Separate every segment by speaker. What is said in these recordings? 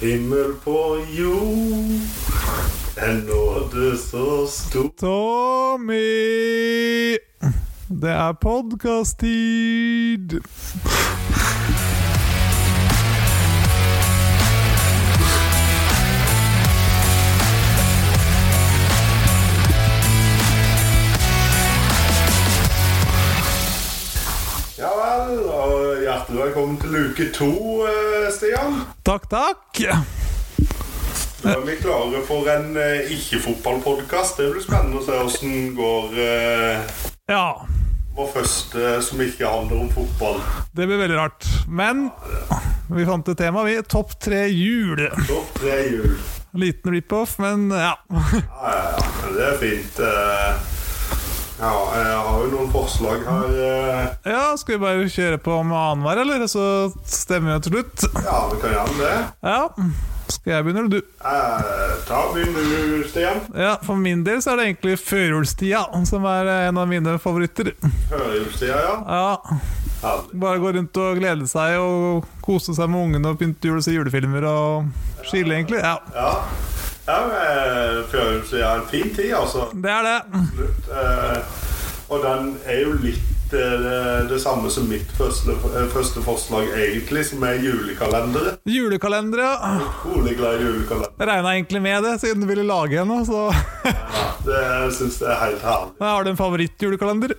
Speaker 1: Himmel på jord, en nåde så stor
Speaker 2: Tommy! Det er podkast-tid!
Speaker 1: Ja vel, og hjertelig velkommen til uke to, eh, Stian.
Speaker 2: Takk, takk!
Speaker 1: Nå er vi klare for en eh, ikke-fotballpodkast. Det blir spennende å se hvordan går eh,
Speaker 2: Ja,
Speaker 1: vår første eh, som ikke handler om fotball.
Speaker 2: det blir veldig rart. Men vi fant et tema, vi. Topp tre jul.
Speaker 1: Topp tre jul.
Speaker 2: Liten rip-off, men ja.
Speaker 1: Ja, ja, ja, det er fint. eh. Ja, jeg har jo noen forslag her. eh.
Speaker 2: Ja, Skal vi bare kjøre på med annenhver, eller? Så stemmer vi til slutt.
Speaker 1: Ja, vi kan gjøre det.
Speaker 2: Ja. Skal jeg begynne, eller du?
Speaker 1: Eh, Ta begynn du, Stian.
Speaker 2: Ja, For min del så er det egentlig førjulstida som er en av mine favoritter.
Speaker 1: Førjulstida, ja.
Speaker 2: Ja,
Speaker 1: Herlig.
Speaker 2: Bare gå rundt og glede seg og kose seg med ungene og pynte jul og se julefilmer og chille, egentlig. Ja,
Speaker 1: Ja. ja men, eh, førjulstida er en fin tid, altså.
Speaker 2: det er det.
Speaker 1: Absolutt. Eh, Og den er jo litt eh, det, det samme som mitt første, eh, første forslag, egentlig, som er julekalenderet.
Speaker 2: Julekalender, ja.
Speaker 1: Utrolig glad i julekalender.
Speaker 2: Jeg regna egentlig med det, siden du ville lage en. og Så
Speaker 1: Det syns jeg er helt herlig.
Speaker 2: Men har du en favorittjulekalender?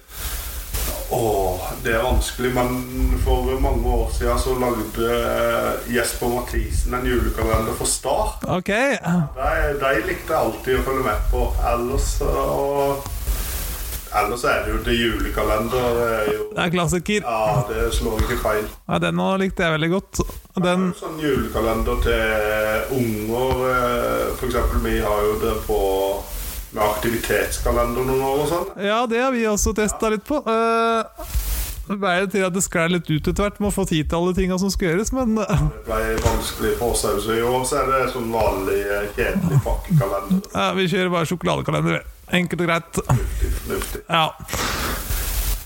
Speaker 1: Åh, det er vanskelig, men for mange år siden så lagde eh, Jesper Mathisen en julekalender for Start.
Speaker 2: Ok.
Speaker 1: De, de likte jeg alltid å følge med på. Ellers så Ellers er det jo til julekalender. Det er jo
Speaker 2: Det er en klassiker.
Speaker 1: Ja, det slår ikke feil.
Speaker 2: Ja, den nå likte jeg veldig godt. Og Den
Speaker 1: Sånn julekalender til unger eh, For eksempel, vi har jo det på med aktivitetskalender noen år og sånn.
Speaker 2: Ja, det har vi også testa litt på. Eh, Det ble jo til at det sklei litt ut etter hvert med å få tid til alle tinga som skal gjøres, men eh,
Speaker 1: Det ble vanskelig for oss òg, så i år så er det sånn vanlig eh, kjedelig pakkekalender.
Speaker 2: ja, vi kjører bare sjokoladekalender. vi. Enkelt og greit.
Speaker 1: Fornuftig.
Speaker 2: Ja.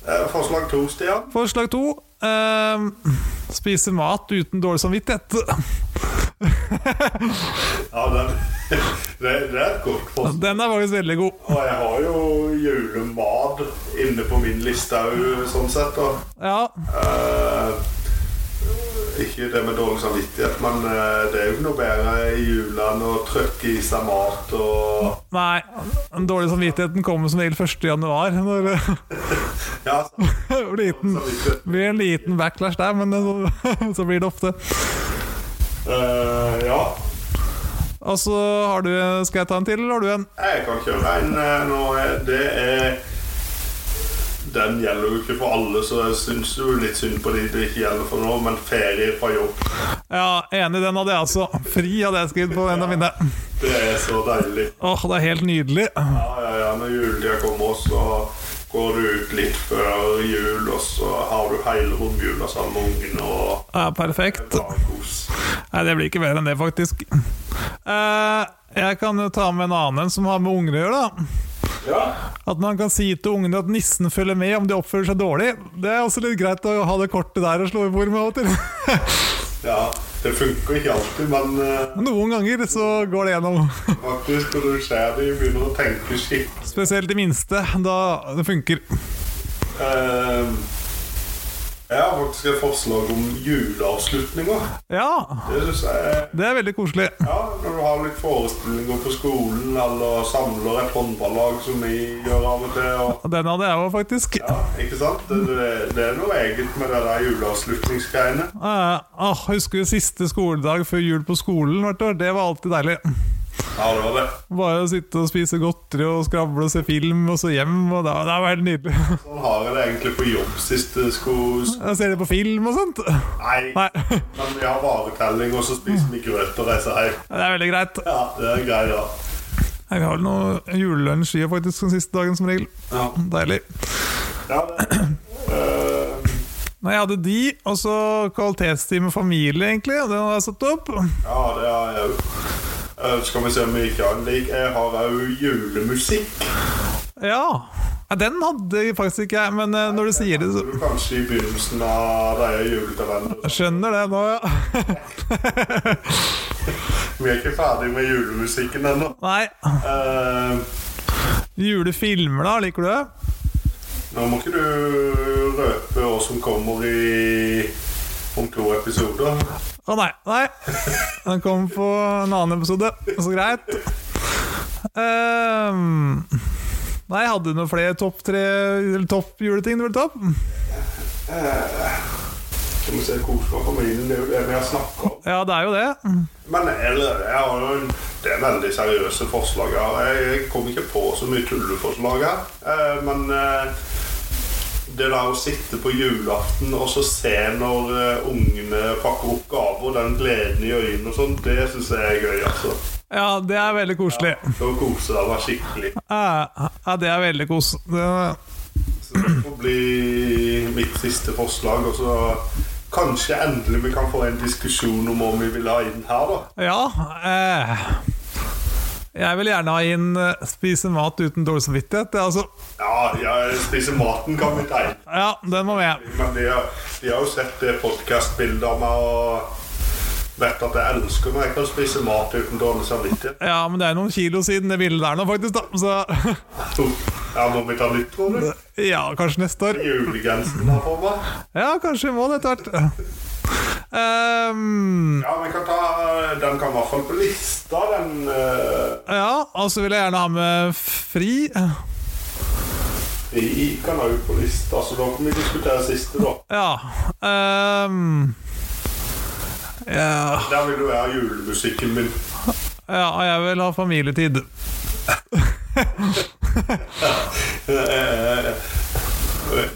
Speaker 1: Eh, Forslag to, Stian.
Speaker 2: Forslag to eh, Spise mat uten dårlig samvittighet.
Speaker 1: Ja, den, det, det er et godt forslag.
Speaker 2: Den er faktisk veldig god.
Speaker 1: Og jeg har jo julemad inne på min liste òg, sånn sett. da.
Speaker 2: Ja,
Speaker 1: Eh, ikke det med dårlig samvittighet, men eh, det er jo ikke noe bedre i jula enn å trøkke i seg mat og
Speaker 2: Nei, den dårlige samvittigheten kommer som regel 1. januar. Når det
Speaker 1: Ja,
Speaker 2: blir liten,
Speaker 1: samvittighet.
Speaker 2: blir en liten backlash der, men så, så blir det ofte.
Speaker 1: Eh, ja.
Speaker 2: Og så har du Skal jeg ta en til, eller har du en?
Speaker 1: Jeg kan kjøre en eh, nå. eh, Det er Den gjelder jo ikke for alle, så jeg syns jo litt synd på de det ikke gjelder for nå, men ferie fra jobb,
Speaker 2: Ja, enig, den hadde jeg også. Fri hadde jeg skrevet på en av mine.
Speaker 1: det er så deilig.
Speaker 2: Åh, det er helt nydelig.
Speaker 1: Ja, ja, ja. Når juletida kommer, så går du ut litt før jul, og så har du hele romjula sammen med ungene og
Speaker 2: Ja, perfekt.
Speaker 1: bare kos.
Speaker 2: Nei, det blir ikke bedre enn det, faktisk. Eh, jeg kan jo ta med en annen en som har med unger å gjøre, da.
Speaker 1: Ja.
Speaker 2: At man kan si til ungene at nissen følger med om de oppfører seg dårlig. Det er også litt greit å ha det kortet der og slå i bord med av og til.
Speaker 1: ja. Det funker ikke alltid, men eh,
Speaker 2: Noen ganger så går det gjennom.
Speaker 1: faktisk når du ser det, begynner å tenke skikkelig.
Speaker 2: Spesielt de minste, da det funker.
Speaker 1: Eh, jeg har faktisk et forslag om juleavslutninger.
Speaker 2: Ja,
Speaker 1: Det syns jeg
Speaker 2: det er veldig koselig.
Speaker 1: Ja, når du har litt forestillinger på skolen, eller samler et håndballag som vi gjør av og til. og...
Speaker 2: Den hadde jeg òg, faktisk. Eh,
Speaker 1: Ja, ikke sant? Det, det, det er noe eget med det der juleavslutningsgreiene.
Speaker 2: Eh, åh, husker du siste skoledag før jul på skolen? Hvert år? Det var alltid deilig.
Speaker 1: Ja, det var det.
Speaker 2: Bare å sitte og spise godteri og skravle og se film, og så hjem. Og det, det var helt nydelig.
Speaker 1: Sånn har jeg det egentlig på jobb siste sko... sk-
Speaker 2: Jeg ser det på film og sånt.
Speaker 1: Nei,
Speaker 2: Nei,
Speaker 1: men vi har varetelling, og så spiser vi grøt og reiser hjem.
Speaker 2: det er veldig greit.
Speaker 1: Ja, det er greit, ja.
Speaker 2: Jeg har vel noe julelunsj i faktisk den siste dagen som regel.
Speaker 1: Ja,
Speaker 2: Deilig.
Speaker 1: ja det. Eh,
Speaker 2: Nei, jeg hadde de, og så kvalitetstid med familie, egentlig. Den hadde jeg satt opp.
Speaker 1: ja, det har jeg òg. Skal vi se om vi ikke har en lik. Jeg har òg julemusikk.
Speaker 2: Ja. Nei, Den hadde jeg faktisk ikke jeg, men eh, når du sier det,
Speaker 1: Det er jo Kanskje i begynnelsen av disse julekalenderne.
Speaker 2: så skjønner det nå, ja.
Speaker 1: Vi er ikke ferdig med julemusikken ennå.
Speaker 2: Nei.
Speaker 1: Eh,
Speaker 2: Julefilmer, da? Liker du det?
Speaker 1: nå må ikke du røpe hva som kommer i om to episoder.
Speaker 2: Å nei. nei. Den kom på en annen episode. Så greit. Ehm, nei, hadde du noen flere topp tre eller topp juleting du ville ta opp?
Speaker 1: Skal vi se Koselige familien, det er jo det vi har snakka om.
Speaker 2: Ja, det er jo det.
Speaker 1: Men eller, jeg har jo en, det er veldig seriøse forslag her. Jeg, jeg kom ikke på så mye tulleforslag her. Eh, men eh, det der å sitte på julaften og så se når eh, ungene pakker opp gaver, den gleden i øynene og sånn, det syns jeg er gøy, altså.
Speaker 2: Ja, det er veldig koselig.
Speaker 1: Å kose deg var skikkelig.
Speaker 2: Ja, ja Eh, det er veldig kos. Det-
Speaker 1: Så det får bli mitt siste forslag. Og så kanskje endelig vi kan få en diskusjon om hva vi vil ha inn her, da.
Speaker 2: Ja eh, Jeg vil gjerne ha inn eh, spise mat uten dårlig samvittighet. Det er altså,
Speaker 1: Ja, ja spise maten kan vi tegne.
Speaker 2: ja, den må med.
Speaker 1: Men de har, de har jo sett det podkastbildet av meg og vet at jeg elsker når jeg kan spise mat uten dårlig samvittighet.
Speaker 2: Ja, men det er noen kilo siden det bildet der nå, faktisk. da Så
Speaker 1: Ja, må vi ta nytt, tror du?
Speaker 2: ja, kanskje neste år.
Speaker 1: Julegrensen der for meg.
Speaker 2: Ja, kanskje vi må det etter hvert. Ehm,
Speaker 1: Ja, vi kan ta Den kan i hvert fall på lista, den eh,
Speaker 2: ja, og så vil jeg gjerne ha med fri.
Speaker 1: i kan òg på lista, så da kan vi diskutere siste, da.
Speaker 2: Ja. ehm, ja,
Speaker 1: Der vil du være julemusikken min.
Speaker 2: ja, og jeg vil ha familietid.
Speaker 1: Eh,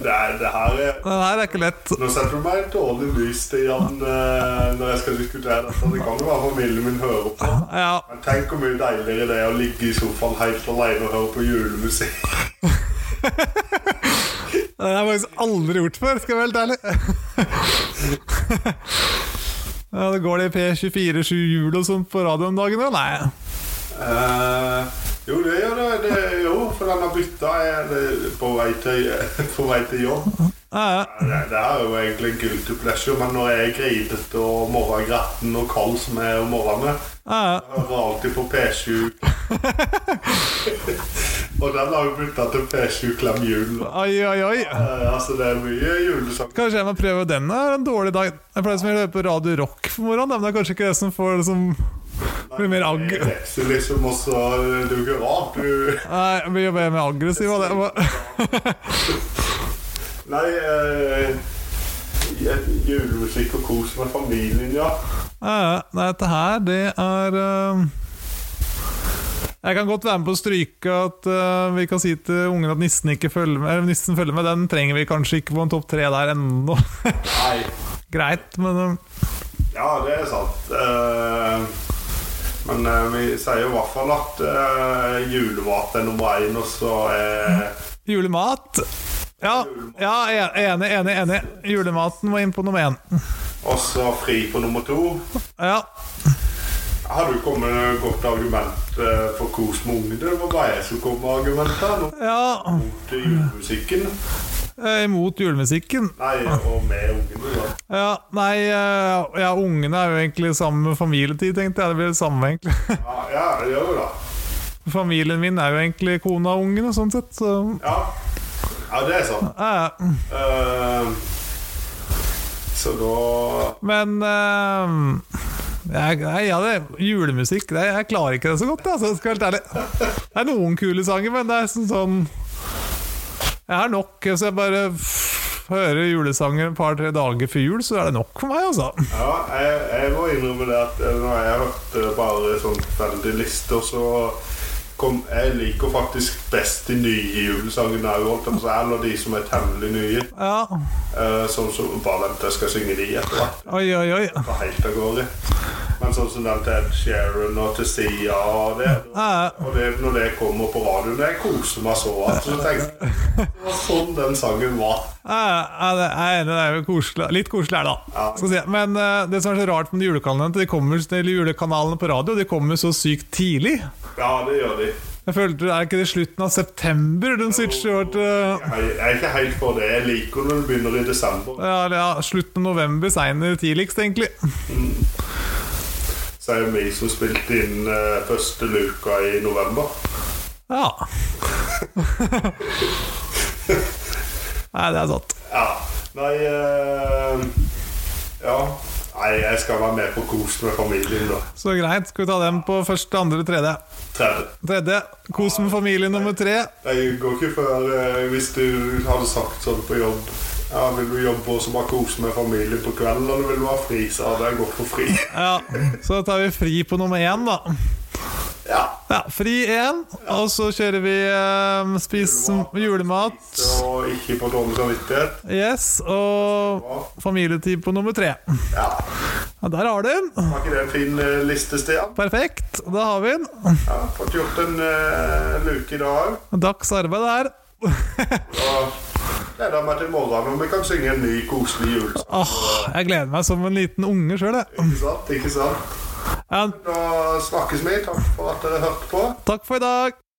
Speaker 1: Nei, det her er
Speaker 2: Den her er ikke lett.
Speaker 1: Nå setter du meg i et dårlig lys til Jan eh, når jeg skal diskutere dette. Det kan jo være familien min hører på.
Speaker 2: Ja,
Speaker 1: Men tenk hvor mye deiligere det er å ligge i sofaen helt alene og høre på julemusikk.
Speaker 2: Det har jeg faktisk aldri gjort før, skal jeg være helt ærlig. ja, det går det P24-7 jul og sånt på radioen om dagen, da? Nei.
Speaker 1: Eh, jo, det gjør det, det. Jo, for den har bytta jeg- det- på, vei til- på vei til jobb.
Speaker 2: Ja, ja.
Speaker 1: Det, det her er jo egentlig en guilty pleasure, men når jeg er grinete og morgengretten og kald som jeg er om morgenen
Speaker 2: ja, ja.
Speaker 1: jeg Hører alltid på P7. og den har jo bytta til P7 Klem jul.
Speaker 2: Oi, oi, oi.
Speaker 1: Eh, altså, det er mye julesang.
Speaker 2: Kanskje jeg må prøve den? Det er en dårlig dag. Jeg pleier som å høre på Radio Rock på morgenen, da, men det er kanskje ikke det som får liksom Blir mer agg.
Speaker 1: Jeg leser liksom også Det er jo ikke rart du
Speaker 2: Nei, jeg blir jo mer aggressiv av det.
Speaker 1: Nei, eh, je- julemusikk og kos med familien, ja.
Speaker 2: Ja, ja. Nei, dette her, det er eh, Jeg kan godt være med på å stryke at eh, vi kan si til ungen at nissen ikke følger med. Eller nissen følger med, Den trenger vi kanskje ikke på en topp tre der ennå.
Speaker 1: Nei.
Speaker 2: Greit, men eh,
Speaker 1: Ja, det er sant. Eh, men eh, vi sier jo i hvert fall at eh, julemat er nummer én, og så er
Speaker 2: julemat Ja, ja en- enig, enig, enig. Julematen må inn på nummer én.
Speaker 1: også fri på nummer to.
Speaker 2: Ja.
Speaker 1: Har du kommet med et godt argument eh, for kos med ungene? Det var bare jeg som kom med argumenter. Nå
Speaker 2: ja
Speaker 1: til julemusikken.
Speaker 2: eh, imot julemusikken.
Speaker 1: Nei, og med ungene, ja.
Speaker 2: Ja, nei eh, Ja, ungene er jo egentlig sammen med familietid, tenkte jeg. Det blir det samme, egentlig.
Speaker 1: Ja, ja det gjør jo det.
Speaker 2: Familien min er jo egentlig kona og ungene, sånn sett. Så
Speaker 1: Ja. ja, det er sant.
Speaker 2: Ja, ja.
Speaker 1: Eh, så da
Speaker 2: men eh, jeg, jeg, ja, det, julemusikk det, Jeg klarer ikke det så godt, jeg, altså, jeg skal være helt ærlig. Det er noen kule sanger, men det er sånn, sånn Jeg har nok, så jeg bare f- hører julesanger et par-tre dager før jul, så er det nok for meg, altså.
Speaker 1: Ja, jeg, jeg må innrømme det at eh, når jeg hørte bare sånn veldig lister, så kom, jeg liker faktisk best de nye julesangene òg, holdt jeg på å si, eller de som er temmelig nye.
Speaker 2: Ja.
Speaker 1: Eh, sånn som Bare vent, jeg skal synge de etter hvert.
Speaker 2: Oi, oi, oi.
Speaker 1: Hva helt av gårde. Men sånn som den til Ed Sheeran og til Sia og det
Speaker 2: Ja,
Speaker 1: Og det, når det kommer på radioen, jeg koser meg så. Altså, så tenkte jeg, det var sånn den sangen var.
Speaker 2: ja, ja, det er enig, det er jo koselig. Litt koselig er det, da. Skal vi se. Men eh, det som er så rart med de julekanalene, at de kommer, eller julekanalene på radio, de kommer så sykt tidlig.
Speaker 1: Ja, det gjør de.
Speaker 2: Jeg følte det er ikke det slutten av september de switcher over til
Speaker 1: Jeg, jeg er ikke helt på det. Jeg liker når det begynner i desember.
Speaker 2: ja, eller ja, slutten av november, seinere tidligst, egentlig.
Speaker 1: Så er det vi som spilte inn eh, første luka i november.
Speaker 2: Ja. Nei, det er sant.
Speaker 1: Ja. Nei eh, Ja. Nei, jeg skal være med på kos med familien, da.
Speaker 2: Så greit. Skal vi ta dem på første, andre, tredje?
Speaker 1: 30.
Speaker 2: Tredje. Kos med familie nummer tre.
Speaker 1: Det går ikke før eh, hvis du hadde sagt sånn på jobb ja, Vil du jobbe og så bare kose med familien på kvelden, eller vil du ha fri? Så hadde jeg gått for fri.
Speaker 2: Ja, Så da tar vi fri på nummer én, da.
Speaker 1: Ja.
Speaker 2: Ja, Fri én, og så kjører vi eh, spis julemat.
Speaker 1: Så ikke på dårlig samvittighet.
Speaker 2: Yes, og familietid på nummer tre.
Speaker 1: Ja.
Speaker 2: Ja, der har du den.
Speaker 1: Var ikke det en fin eh, liste, Stian?
Speaker 2: Perfekt. Da har vi den.
Speaker 1: Ja, fått gjort en eh, luke i dag.
Speaker 2: Dags arbeid der.
Speaker 1: Og gleder meg til i morgen når vi kan synge en ny koselig julesang.
Speaker 2: Åh, jeg gleder meg som en liten unge sjøl, jeg.
Speaker 1: Ikke sant? Ikke sant?
Speaker 2: Ja,
Speaker 1: Da snakkes vi. Takk for at dere hørte på.
Speaker 2: takk for i dag.